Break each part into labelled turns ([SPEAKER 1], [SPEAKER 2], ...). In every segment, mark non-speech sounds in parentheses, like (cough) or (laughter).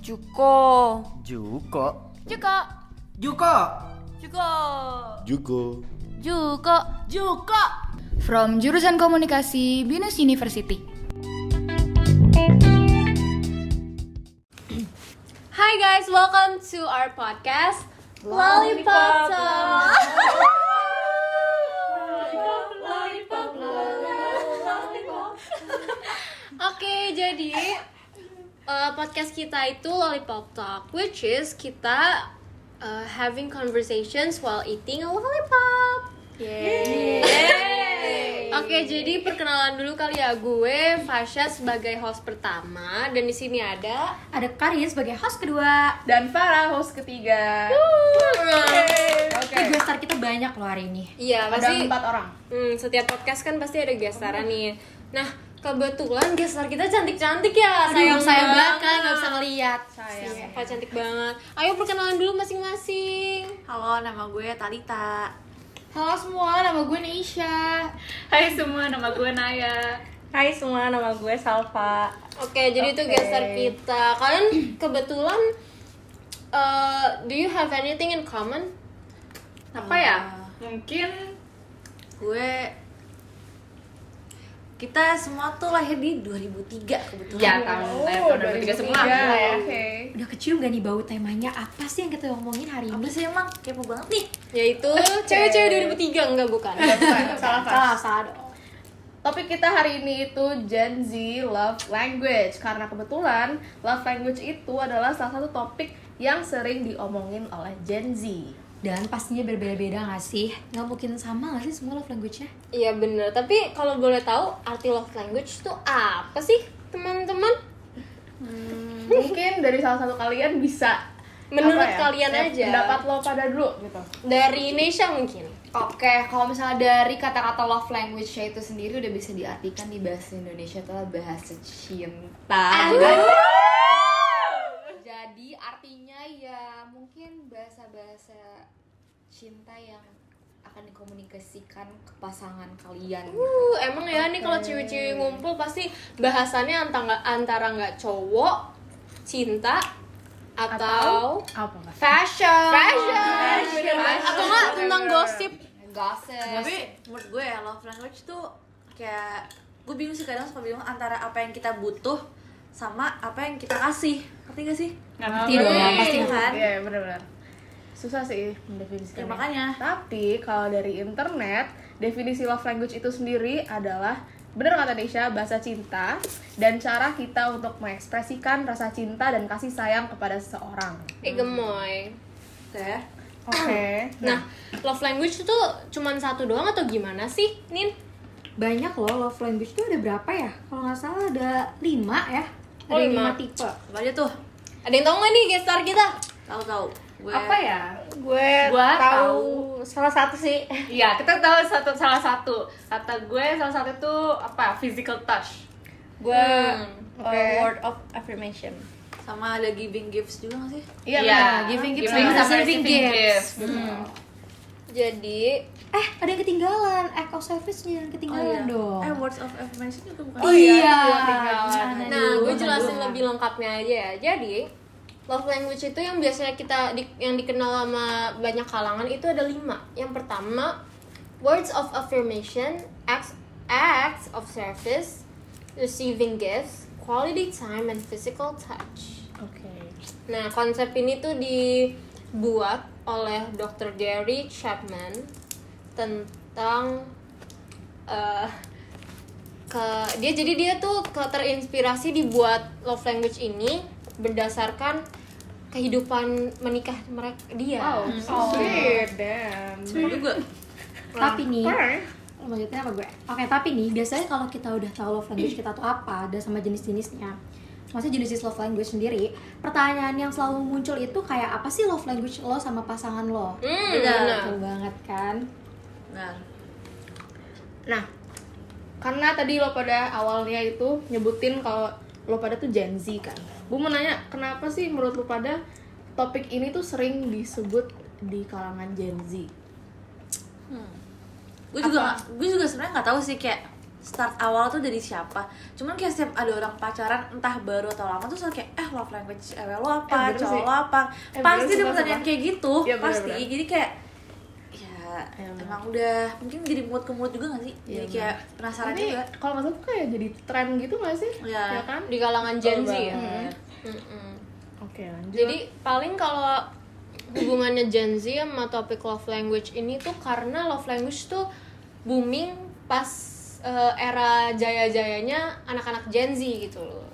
[SPEAKER 1] Juko.
[SPEAKER 2] Juko.
[SPEAKER 1] Juko.
[SPEAKER 2] Juko.
[SPEAKER 1] Juko.
[SPEAKER 3] Jugo.
[SPEAKER 1] Juko. Juko.
[SPEAKER 4] From jurusan komunikasi Binus University.
[SPEAKER 5] Hi guys, welcome to our podcast Lollipop Talk. (laughs) Oke, jadi uh, podcast kita itu Lollipop Talk, which is kita uh, having conversations while eating a lollipop. Yeay. Oke, jadi perkenalan dulu kali ya gue Fasha sebagai host pertama dan di sini ada
[SPEAKER 6] Ada Karin sebagai host kedua.
[SPEAKER 7] dan Farah host ketiga.
[SPEAKER 6] Oke, Eh, guest star kita banyak loh hari ini.
[SPEAKER 5] Iya,
[SPEAKER 7] Ada
[SPEAKER 5] pasti
[SPEAKER 7] empat orang.
[SPEAKER 5] hmm, setiap podcast kan pasti ada gestaran nih. Nah, kebetulan gestar kita cantik-cantik ya.
[SPEAKER 6] Sayang sayang banget
[SPEAKER 5] banget.
[SPEAKER 6] kan nggak bisa ngeliat.
[SPEAKER 5] Sayang, Pak, cantik banget. Ayo perkenalan dulu masing-masing.
[SPEAKER 1] Halo, nama gue Talita.
[SPEAKER 4] Halo semua, nama gue Neisha.
[SPEAKER 7] Hai semua, nama gue Naya. Hai semua, nama gue Salva.
[SPEAKER 5] Oke, jadi itu gestar kita. Kalian kebetulan eh, do you have anything in common? Apa ya?
[SPEAKER 7] Mungkin
[SPEAKER 1] Gue kita semua tuh lahir di 2003 kebetulan.
[SPEAKER 7] ya tahun tahun 2003 semua. Oke.
[SPEAKER 6] Udah kecium gak nih bau temanya apa sih yang kita omongin hari
[SPEAKER 1] Apa
[SPEAKER 6] ini?
[SPEAKER 1] sih emang kepo banget nih.
[SPEAKER 5] Yaitu cewek-cewek 2003 enggak bukan.
[SPEAKER 7] Salah
[SPEAKER 6] Salah,
[SPEAKER 7] Fas.
[SPEAKER 6] salah dong.
[SPEAKER 7] Topik kita hari ini itu Gen Z love language karena kebetulan love language itu adalah salah satu topik yang sering diomongin oleh Gen Z.
[SPEAKER 6] Dan pastinya berbeda-beda gak sih? Gak mungkin sama gak sih semua love language-nya?
[SPEAKER 5] Iya bener, tapi kalau boleh tahu arti love language itu apa sih teman-teman?
[SPEAKER 7] Mungkin dari salah satu kalian bisa
[SPEAKER 5] Menurut
[SPEAKER 7] apa ya,
[SPEAKER 5] kalian aja
[SPEAKER 7] Pendapat lo pada dulu gitu.
[SPEAKER 5] Dari Indonesia mungkin
[SPEAKER 4] Oke, kalau misalnya dari kata-kata love language-nya itu sendiri udah bisa diartikan di bahasa Indonesia itu adalah bahasa cinta. Jadi artinya ya mungkin bahasa-bahasa cinta yang akan dikomunikasikan ke pasangan kalian.
[SPEAKER 5] Uh, Emang ya nih kalau cewek-cewek ngumpul pasti bahasannya antara, antara nggak cowok, cinta, atau,
[SPEAKER 7] Apa Fas?
[SPEAKER 4] Fashion.
[SPEAKER 5] fashion Atau nggak tentang gosip
[SPEAKER 4] Gossip.
[SPEAKER 1] Tapi menurut gue ya love language tuh kayak gue bingung sih kadang suka bingung antara apa yang kita butuh sama apa yang kita kasih. Ngerti gak sih?
[SPEAKER 6] Ngerti dong, ya, pasti
[SPEAKER 1] Iya kan?
[SPEAKER 7] Iya, benar-benar. Susah sih
[SPEAKER 1] Ya
[SPEAKER 7] mendefinisikan.
[SPEAKER 1] makanya
[SPEAKER 7] Tapi kalau dari internet, definisi love language itu sendiri adalah bener kata Desha, bahasa cinta dan cara kita untuk mengekspresikan rasa cinta dan kasih sayang kepada seseorang.
[SPEAKER 5] Eh gemoy
[SPEAKER 1] Teh,
[SPEAKER 7] Oke.
[SPEAKER 5] Nah, love language itu cuman satu doang atau gimana sih, Nin?
[SPEAKER 6] Banyak loh love language itu ada berapa ya? Kalau nggak salah ada lima ya. Ada
[SPEAKER 5] Oh,
[SPEAKER 6] lima.
[SPEAKER 5] lima.
[SPEAKER 6] tipe.
[SPEAKER 1] apa aja tuh?
[SPEAKER 5] Ada yang tahu nggak nih gestar kita?
[SPEAKER 1] Tahu-tahu. Gue
[SPEAKER 6] Apa ya?
[SPEAKER 8] gue
[SPEAKER 6] Gua
[SPEAKER 8] tahu, salah satu sih iya kita tahu satu salah satu kata gue salah satu itu apa physical touch Hmm, gue
[SPEAKER 7] uh, Oke.
[SPEAKER 8] word of affirmation
[SPEAKER 1] sama ada giving gifts juga gak sih?
[SPEAKER 7] Iya, Gitu.
[SPEAKER 8] giving
[SPEAKER 6] gifts sama receiving gifts.
[SPEAKER 5] Jadi,
[SPEAKER 6] Eh, ada yang ketinggalan. Act of service-nya yang
[SPEAKER 5] Oh,
[SPEAKER 6] ketinggalan Iya
[SPEAKER 5] iya.
[SPEAKER 6] dong.
[SPEAKER 1] Eh, words of affirmation juga bukan.
[SPEAKER 6] Oh iya, Gimana
[SPEAKER 5] nah
[SPEAKER 6] dulu?
[SPEAKER 5] gue jelasin lebih lengkapnya aja ya. Jadi, love language itu yang biasanya kita di- yang dikenal sama banyak kalangan itu ada lima. Yang pertama, words of affirmation, acts acts of service, receiving gifts, quality time, and physical touch.
[SPEAKER 7] Oke.
[SPEAKER 5] Nah, konsep ini tuh dibuat oleh Dr. Gary Chapman tentang eh, ke dia jadi dia tuh ke- terinspirasi dibuat love language ini berdasarkan kehidupan menikah mereka dia.
[SPEAKER 7] Oh, Sweet, damn.
[SPEAKER 1] Tapi gue
[SPEAKER 6] nah, tapi nih lanjutnya apa gue oke tapi nih biasanya kalau kita udah tahu love language kita tuh apa dan sama jenis-jenisnya maksudnya jenis-jenis love language sendiri pertanyaan yang selalu muncul itu kayak apa sih love language lo sama pasangan lo Gitu,
[SPEAKER 5] Hmm,
[SPEAKER 1] Beda.
[SPEAKER 5] benar.
[SPEAKER 6] Betul banget kan
[SPEAKER 1] Benar.
[SPEAKER 7] Nah, karena tadi lo pada awalnya itu nyebutin kalau lo pada tuh Gen Z kan. Gue mau nanya, kenapa sih menurut lo pada topik ini tuh sering disebut di kalangan Gen Z?
[SPEAKER 1] Gue juga gue juga sebenarnya nggak tahu sih kayak start awal tuh dari siapa cuman kayak setiap ada orang pacaran entah baru atau lama tuh selalu kayak eh love language cewek
[SPEAKER 7] Eh,
[SPEAKER 1] lo apa
[SPEAKER 7] bener
[SPEAKER 1] cowok
[SPEAKER 7] sih.
[SPEAKER 1] lo apa
[SPEAKER 7] Eh, bener,
[SPEAKER 1] pasti ada
[SPEAKER 7] sumpah,
[SPEAKER 1] pertanyaan
[SPEAKER 7] sumpah.
[SPEAKER 1] kayak gitu
[SPEAKER 7] Iya, bener,
[SPEAKER 1] pasti
[SPEAKER 7] bener.
[SPEAKER 1] jadi kayak ya emang udah mungkin jadi mulut ke mulut juga gak sih
[SPEAKER 7] Iya,
[SPEAKER 1] jadi kayak penasaran
[SPEAKER 7] Ini
[SPEAKER 1] juga
[SPEAKER 7] kalau nggak salah tuh kayak jadi tren gitu nggak sih?
[SPEAKER 1] Iya.
[SPEAKER 7] Ya kan?
[SPEAKER 5] di kalangan Gen Z ya.
[SPEAKER 7] banget.
[SPEAKER 5] Mm-mm.
[SPEAKER 7] Oke lanjut.
[SPEAKER 5] Jadi paling kalau hubungannya Gen Z sama topik love language ini tuh karena love language tuh booming pas eh, era jaya-jayanya anak-anak Gen Z gitu loh.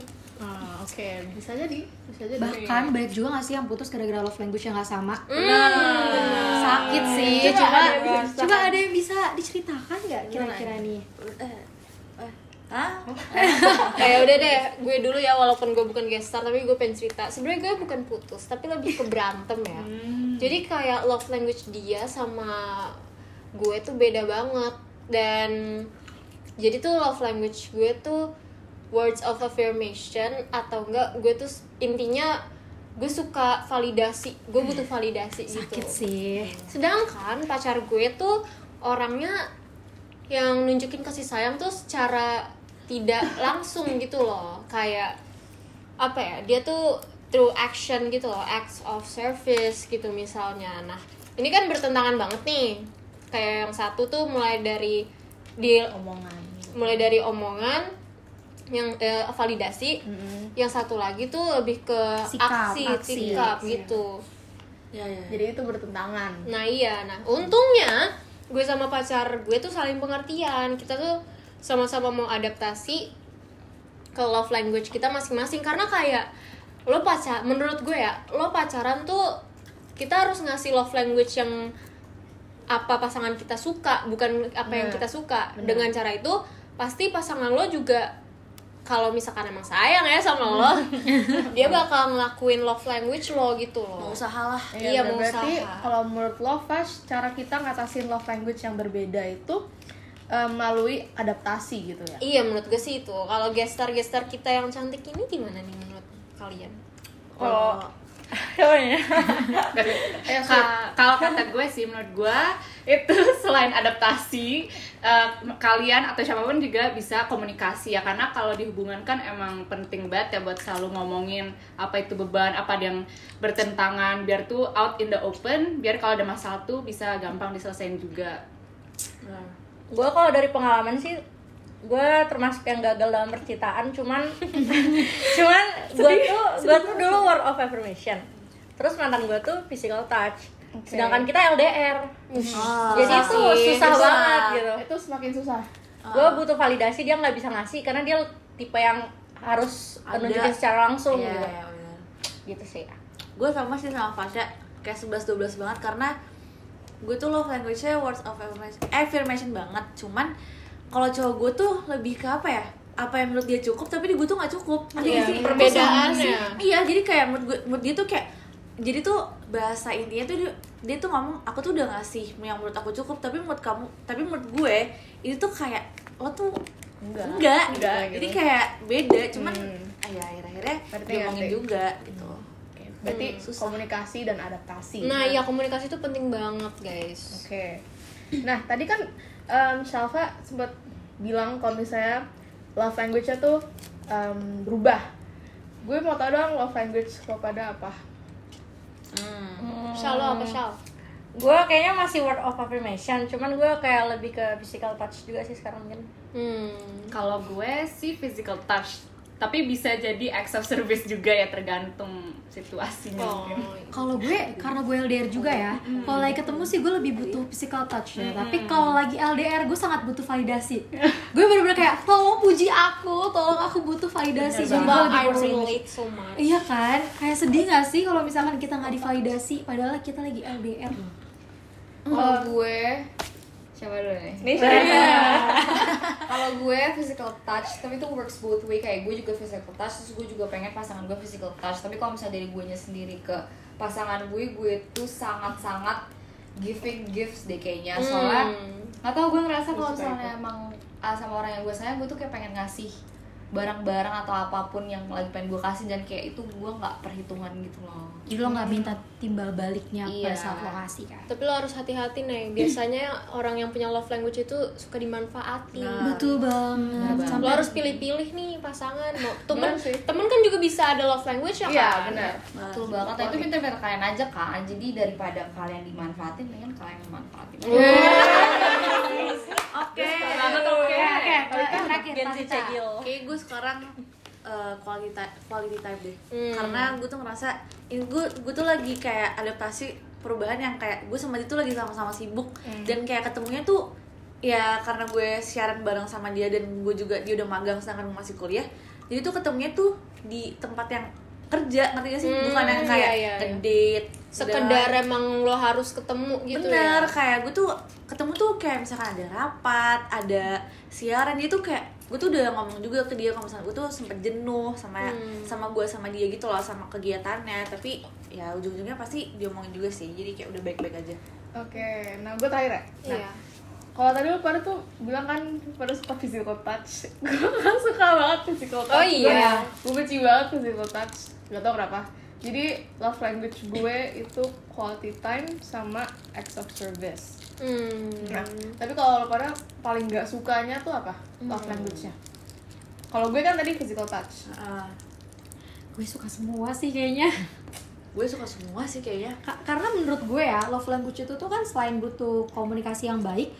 [SPEAKER 7] Ah, oke bisa jadi bisa jadi.
[SPEAKER 6] bahkan banyak juga gak sih yang putus gara-gara love language yang gak sama
[SPEAKER 5] Nah,
[SPEAKER 6] sakit sih
[SPEAKER 7] Iya, Coba
[SPEAKER 6] coba coba
[SPEAKER 7] ada yang bisa diceritakan.
[SPEAKER 6] ada yang bisa diceritakan nggak kira-kira nih
[SPEAKER 1] eh, eh, Hah?
[SPEAKER 5] kayak Ya, udah deh, gue dulu ya walaupun gue bukan gestar tapi gue pengen cerita. Sebenarnya gue bukan putus, tapi lebih ke berantem ya. Jadi kayak love language dia sama gue tuh beda banget dan jadi tuh love language gue tuh words of affirmation atau enggak gue tuh s- intinya gue suka validasi, gue butuh validasi gitu.
[SPEAKER 6] sakit sih
[SPEAKER 5] Sedangkan pacar gue tuh orangnya yang nunjukin kasih sayang tuh secara tidak langsung gitu loh. Kayak apa ya? Dia tuh through action gitu loh, acts of service gitu misalnya. Nah, ini kan bertentangan banget nih. Kayak yang satu tuh mulai dari di
[SPEAKER 7] omongan.
[SPEAKER 6] gitu.
[SPEAKER 5] mulai dari omongan yang eh, validasi, yang satu lagi tuh lebih ke
[SPEAKER 6] Sikap,
[SPEAKER 5] aksi,
[SPEAKER 6] aksi.
[SPEAKER 5] sikap gitu.
[SPEAKER 1] Ya, ya.
[SPEAKER 7] Jadi itu bertentangan.
[SPEAKER 5] Nah iya, nah untungnya gue sama pacar gue tuh saling pengertian. Kita tuh sama-sama mau adaptasi ke love language kita masing-masing karena kayak lo pacar menurut gue ya lo pacaran tuh kita harus ngasih love language yang apa pasangan kita suka bukan apa yang kita suka dengan cara itu pasti pasangan lo juga kalau misalkan emang sayang ya sama lo dia bakal ngelakuin love language lo gitu loh
[SPEAKER 1] mau usaha lah
[SPEAKER 5] Iya, mau
[SPEAKER 7] berarti
[SPEAKER 5] usaha.
[SPEAKER 7] kalau menurut lo Fash, cara kita ngatasin love language yang berbeda itu eh, melalui adaptasi gitu ya.
[SPEAKER 5] Iya menurut gue sih itu. Kalau gestar-gestar kita yang cantik ini gimana nih menurut kalian?
[SPEAKER 8] Kalau
[SPEAKER 7] Eh,
[SPEAKER 8] Ka- kalau kata gue sih menurut gue itu (laughs) selain adaptasi eh, kalian atau siapapun juga bisa komunikasi ya karena kalau dihubungan kan emang penting banget ya buat selalu ngomongin apa itu beban apa ada yang bertentangan biar tuh out in the open biar kalau ada masalah tuh bisa gampang diselesain juga
[SPEAKER 7] Iya.
[SPEAKER 3] gue kalau dari pengalaman sih gue termasuk yang gagal dalam percintaan cuman (laughs) cuman gue tuh gue tuh dulu word of affirmation terus mantan gue tuh physical touch sedangkan kita LDR
[SPEAKER 1] Oh,
[SPEAKER 3] jadi itu susah banget gitu
[SPEAKER 5] Ah.
[SPEAKER 7] itu semakin susah.
[SPEAKER 3] gue butuh validasi dia nggak bisa ngasih karena dia tipe yang harus
[SPEAKER 1] Ada.
[SPEAKER 3] menunjukin secara langsung
[SPEAKER 1] Iya,
[SPEAKER 3] gitu
[SPEAKER 1] iya, bener.
[SPEAKER 3] gitu sih
[SPEAKER 1] gue sama sih sama Fasha kayak 11-12 banget karena gue tuh love language-nya words of affirmation, eh, affirmation banget cuman kalau cowok gue tuh lebih ke apa ya apa yang menurut dia cukup tapi di gue tuh nggak cukup Ngerti
[SPEAKER 5] Iya
[SPEAKER 7] Iya,
[SPEAKER 1] nggak sih?
[SPEAKER 5] perbedaannya.
[SPEAKER 1] iya jadi kayak menurut gue menurut dia tuh kayak jadi tuh bahasa intinya tuh dia, dia tuh ngomong aku tuh udah ngasih yang menurut aku cukup tapi menurut kamu tapi menurut gue itu tuh kayak lo tuh enggak enggak,
[SPEAKER 7] Enggak, gitu.
[SPEAKER 1] jadi kayak beda cuman
[SPEAKER 7] Hmm.
[SPEAKER 1] ya akhir-akhirnya
[SPEAKER 7] Ngerti,
[SPEAKER 1] diomongin
[SPEAKER 7] ngerti. Hmm.
[SPEAKER 1] juga gitu
[SPEAKER 7] Oke, berarti komunikasi dan adaptasi.
[SPEAKER 3] Iya.
[SPEAKER 5] Nah ya komunikasi itu penting banget guys.
[SPEAKER 7] Oke. Nah, tadi kan em Shalfa sempat bilang kalau misalnya love language-nya tuh em, berubah. Gue mau tau dong love language lo pada apa?
[SPEAKER 5] Shal lo apa Shal?
[SPEAKER 3] gue Hmm. kayaknya masih word of affirmation cuman gue kayak lebih ke physical touch juga sih sekarang mungkin
[SPEAKER 5] Hmm.
[SPEAKER 8] kalau gue sih physical touch tapi bisa jadi acts of service juga ya tergantung
[SPEAKER 3] Iya.
[SPEAKER 8] situasinya
[SPEAKER 5] Oh.
[SPEAKER 3] (laughs)
[SPEAKER 6] kalau gue karena gue LDR juga ya kalau lagi ketemu sih gue lebih butuh physical touch ya tapi kalau lagi LDR gue sangat butuh validasi gue bener-bener kayak tolong puji aku tolong aku butuh validasi jadi gue
[SPEAKER 5] Sumpah
[SPEAKER 6] lebih
[SPEAKER 5] I
[SPEAKER 6] worth it.
[SPEAKER 5] relate so much.
[SPEAKER 6] Iya kan, kayak sedih gak sih kalau misalkan kita nggak divalidasi, padahal kita lagi LDR.
[SPEAKER 4] Kalau gue siapa dulu nih? Kalau gue physical touch, tapi itu works both way kayak gue juga physical touch, terus gue juga pengen pasangan gue physical touch. Tapi kalau misalnya dari gue sendiri ke pasangan gue, gue tuh sangat-sangat giving gifts deh kayaknya. Soalnya
[SPEAKER 5] Hmm.
[SPEAKER 4] nggak tau gue ngerasa kalau misalnya emang ah, sama orang yang gue sayang, gue tuh kayak pengen ngasih barang-barang atau apapun yang lagi pengen gue kasih dan kayak itu gue nggak perhitungan gitu loh
[SPEAKER 6] Jadi lo nggak minta timbal baliknya
[SPEAKER 4] Iya.
[SPEAKER 6] pada saat lo kasih kan?
[SPEAKER 5] Tapi lo harus hati-hati nih. Biasanya orang yang punya love language itu suka dimanfaatin.
[SPEAKER 1] Nah.
[SPEAKER 6] Betul banget.
[SPEAKER 4] Benar
[SPEAKER 5] Lo
[SPEAKER 6] Sampai
[SPEAKER 5] harus pilih-pilih nih pasangan. Mau temen,
[SPEAKER 7] Bener sih.
[SPEAKER 5] temen kan juga bisa ada love language ya
[SPEAKER 8] Iya,
[SPEAKER 5] kan?
[SPEAKER 8] benar.
[SPEAKER 4] betul banget nah, itu pinter-pinter kalian aja kan jadi daripada kalian dimanfaatin mendingan kalian yang manfaatin
[SPEAKER 1] Oke.
[SPEAKER 8] Banget oke.
[SPEAKER 6] Oke, terakhir
[SPEAKER 5] Gen Z
[SPEAKER 6] Tata.
[SPEAKER 5] cegil.
[SPEAKER 1] Oke, gue sekarang eh, quality type, quality type deh.
[SPEAKER 5] Hmm.
[SPEAKER 1] Karena gue tuh ngerasa ini gue gue tuh lagi kayak adaptasi perubahan yang kayak gue sama dia tuh lagi sama-sama sibuk
[SPEAKER 5] Hmm.
[SPEAKER 1] dan kayak ketemunya tuh ya karena gue siaran bareng sama dia dan gue juga dia udah magang sedangkan gue masih kuliah. Jadi tuh ketemunya tuh di tempat yang kerja ngerti gak sih
[SPEAKER 5] Hmm,
[SPEAKER 1] bukan yang
[SPEAKER 5] iya,
[SPEAKER 1] kayak
[SPEAKER 5] iya, iya.
[SPEAKER 1] ngedate,
[SPEAKER 5] Sekedar emang lo harus ketemu gitu
[SPEAKER 1] bener
[SPEAKER 5] ya.
[SPEAKER 1] kayak gue tuh ketemu tuh kayak misalkan ada rapat ada siaran dia tuh kayak gue tuh udah ngomong juga ke dia kalau misalkan gue tuh sempet jenuh sama sama gue sama dia gitu loh sama kegiatannya tapi ya ujung-ujungnya pasti diomongin juga sih jadi kayak udah baik-baik aja
[SPEAKER 7] Oke, nah gue terakhir ya. Nah,
[SPEAKER 5] Iya.
[SPEAKER 7] Kalau tadi lu pada tuh bilang kan pada suka physical touch. (laughs) Gue kan suka banget physical touch.
[SPEAKER 5] Oh iya.
[SPEAKER 7] Gue benci banget physical touch. Gak tau kenapa. Jadi love language gue itu quality time sama acts of service.
[SPEAKER 5] Hmm.
[SPEAKER 3] Iya.
[SPEAKER 7] Nah, tapi kalau lo pada paling gak sukanya tuh apa? Love language-nya. Kalau gue kan tadi physical touch.
[SPEAKER 1] Ah,
[SPEAKER 6] Gue suka semua sih kayaknya.
[SPEAKER 1] gue suka semua sih kayaknya
[SPEAKER 6] Ka- karena menurut gue ya love language itu tuh kan selain butuh komunikasi yang baik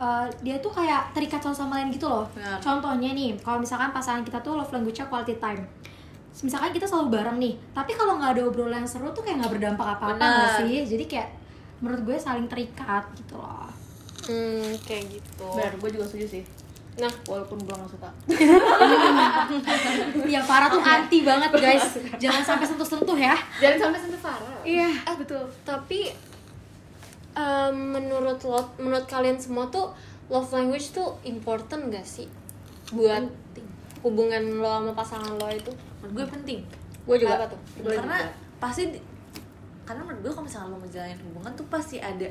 [SPEAKER 6] eh, dia tuh kayak terikat satu sama lain gitu loh
[SPEAKER 1] Benar.
[SPEAKER 6] contohnya nih kalau misalkan pasangan kita tuh love language-nya quality time misalkan kita selalu bareng nih tapi kalau nggak ada obrolan yang seru tuh kayak nggak berdampak apa-apa nggak
[SPEAKER 1] Benar.
[SPEAKER 6] sih jadi kayak menurut gue saling terikat gitu loh (laughs)
[SPEAKER 5] Hmm, kayak gitu.
[SPEAKER 7] Benar, gue juga setuju sih.
[SPEAKER 5] Nah,
[SPEAKER 7] Walaupun gue gak suka.
[SPEAKER 6] ya Farah tuh anti banget guys jangan sampai sentuh-sentuh ya
[SPEAKER 8] Jangan sampai sentuh parah.
[SPEAKER 6] iya
[SPEAKER 5] Eh, tapi em, menurut lo, menurut kalian semua tuh love language tuh important gak sih buat hubungan lo sama pasangan lo itu?
[SPEAKER 1] menurut gue penting
[SPEAKER 5] Gue juga.
[SPEAKER 1] Apa
[SPEAKER 5] tuh?
[SPEAKER 1] karena pasti di- karena menurut gue kalau misalnya lo menjalin hubungan tuh pasti ada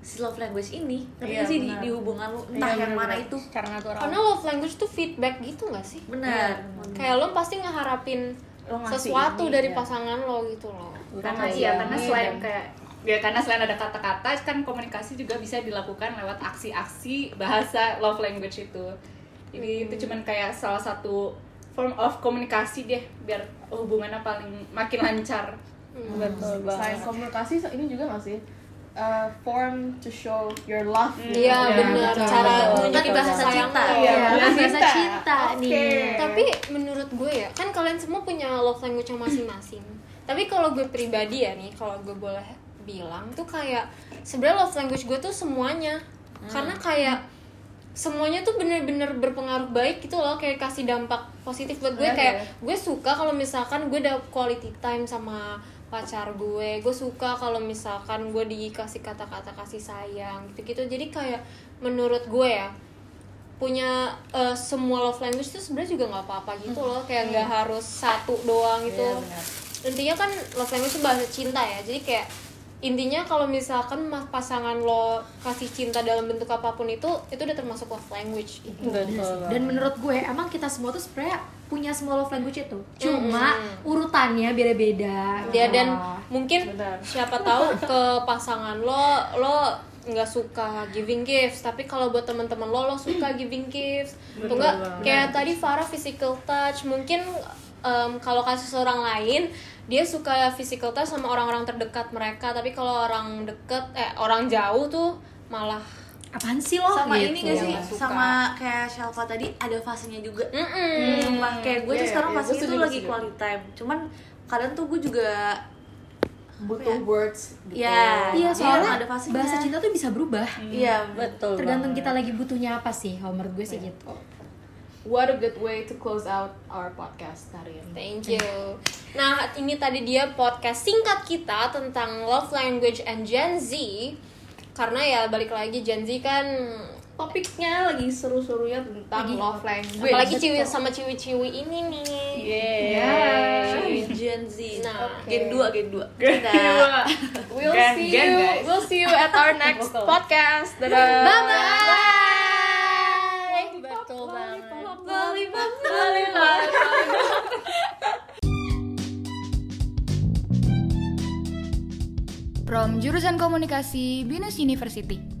[SPEAKER 1] si love language ini ngerti
[SPEAKER 7] Iya,
[SPEAKER 1] gak sih di,
[SPEAKER 7] benar.
[SPEAKER 1] di hubungan lo entah Nah,
[SPEAKER 7] Iya,
[SPEAKER 1] yang mana itu
[SPEAKER 7] Cara natural.
[SPEAKER 5] Karena love language tuh feedback gitu gak sih?
[SPEAKER 1] benar
[SPEAKER 5] Kayak lo pasti ngeharapin
[SPEAKER 7] Hmm. Lo ngasih
[SPEAKER 5] sesuatu
[SPEAKER 7] ini,
[SPEAKER 5] dari
[SPEAKER 7] iya.
[SPEAKER 5] pasangan lo gitu loh.
[SPEAKER 8] Karena iya, karena selain kayak ya karena selain ada kata-kata kan komunikasi juga bisa dilakukan lewat aksi-aksi bahasa love language itu. Jadi itu cuman kayak salah satu form of komunikasi deh biar hubungannya paling makin lancar.
[SPEAKER 5] Hmm.
[SPEAKER 7] Betul banget. Selain komunikasi ini juga gak sih? Uh, form to show your love. gitu.
[SPEAKER 5] Iya
[SPEAKER 8] Iya,
[SPEAKER 5] benar.
[SPEAKER 7] betul,
[SPEAKER 5] Cara
[SPEAKER 7] betul.
[SPEAKER 5] menunjukkan
[SPEAKER 1] Tadi bahasa
[SPEAKER 5] sayang
[SPEAKER 1] cinta.
[SPEAKER 5] lo.
[SPEAKER 7] Iya,
[SPEAKER 6] bahasa
[SPEAKER 7] cinta.
[SPEAKER 6] cinta
[SPEAKER 7] Oke.
[SPEAKER 6] nih.
[SPEAKER 5] tapi menurut gue ya kan kalian semua punya love language yang masing-masing tapi kalau gue pribadi ya nih kalau gue boleh bilang tuh kayak sebenarnya love language gue tuh semuanya karena kayak semuanya tuh bener-bener berpengaruh baik gitu loh kayak kasih dampak positif buat gue
[SPEAKER 7] Bener
[SPEAKER 5] kayak
[SPEAKER 7] ya.
[SPEAKER 5] gue suka kalau misalkan gue dapet quality time sama pacar gue gue suka kalau misalkan gue dikasih kata-kata kasih sayang gitu-gitu jadi kayak menurut gue ya punya eh, semua love language tuh sebenarnya juga nggak apa-apa gitu loh kayak nggak harus satu doang gitu intinya kan love language itu bahasa cinta ya jadi kayak intinya kalau misalkan mas pasangan lo kasih cinta dalam bentuk apapun itu itu udah termasuk love language gitu.
[SPEAKER 7] Iya.
[SPEAKER 6] dan menurut gue emang kita semua tuh sebenarnya punya semua love language itu cuma urutannya beda-beda
[SPEAKER 5] dia
[SPEAKER 1] Iya,
[SPEAKER 5] dan
[SPEAKER 6] Wah.
[SPEAKER 5] mungkin siapa tahu ke pasangan lo lo nggak suka giving gifts tapi kalau buat teman-teman lo lo suka giving gifts atau enggak kayak tadi Farah physical touch mungkin em, kalau kasus orang lain dia suka physical touch sama orang-orang terdekat mereka tapi kalau orang deket eh orang jauh tuh malah
[SPEAKER 6] apaan sih lo
[SPEAKER 1] sama
[SPEAKER 6] gitu.
[SPEAKER 1] ini gak sih
[SPEAKER 5] Yang suka. Hmm,
[SPEAKER 1] sama kayak Shalfa tadi ada fasenya juga
[SPEAKER 5] Mm-mm.
[SPEAKER 1] Sumpah, kayak gue
[SPEAKER 7] Iya,
[SPEAKER 1] tuh sekarang
[SPEAKER 7] iya, gue
[SPEAKER 1] fasenya
[SPEAKER 7] setuju,
[SPEAKER 1] tuh
[SPEAKER 7] gue
[SPEAKER 1] lagi
[SPEAKER 7] setuju.
[SPEAKER 1] quality time cuman kadang tuh gue juga
[SPEAKER 7] Butuh
[SPEAKER 1] Iya.
[SPEAKER 7] words gitu.
[SPEAKER 1] ya
[SPEAKER 6] iya soalnya
[SPEAKER 1] ada fasenya
[SPEAKER 6] bahasa cinta tuh bisa berubah
[SPEAKER 1] iya betul Iya.
[SPEAKER 6] tergantung kita lagi butuhnya apa sih kalau menurut gue sih gitu
[SPEAKER 7] What a good way to close out our podcast hari ini.
[SPEAKER 5] Thank you. Nah, ini tadi dia podcast singkat kita tentang love language and Gen Z. Karena ya balik lagi Gen Z kan
[SPEAKER 7] Topiknya lagi seru-serunya tentang
[SPEAKER 6] Lagi.
[SPEAKER 7] love language.
[SPEAKER 5] apalagi ciwi sama ciwi-ciwi ini nih.
[SPEAKER 8] Iya.
[SPEAKER 1] Sorry, Gen Z
[SPEAKER 5] Nah.
[SPEAKER 1] Gen 2 Gen 2
[SPEAKER 7] We'll
[SPEAKER 8] Gen-
[SPEAKER 7] see
[SPEAKER 8] gen,
[SPEAKER 7] you.
[SPEAKER 8] guys.
[SPEAKER 7] We'll see you at our next podcast. Dadah.
[SPEAKER 5] Bye bye. betul banget
[SPEAKER 9] Lollipop.
[SPEAKER 4] From jurusan komunikasi BINUS University.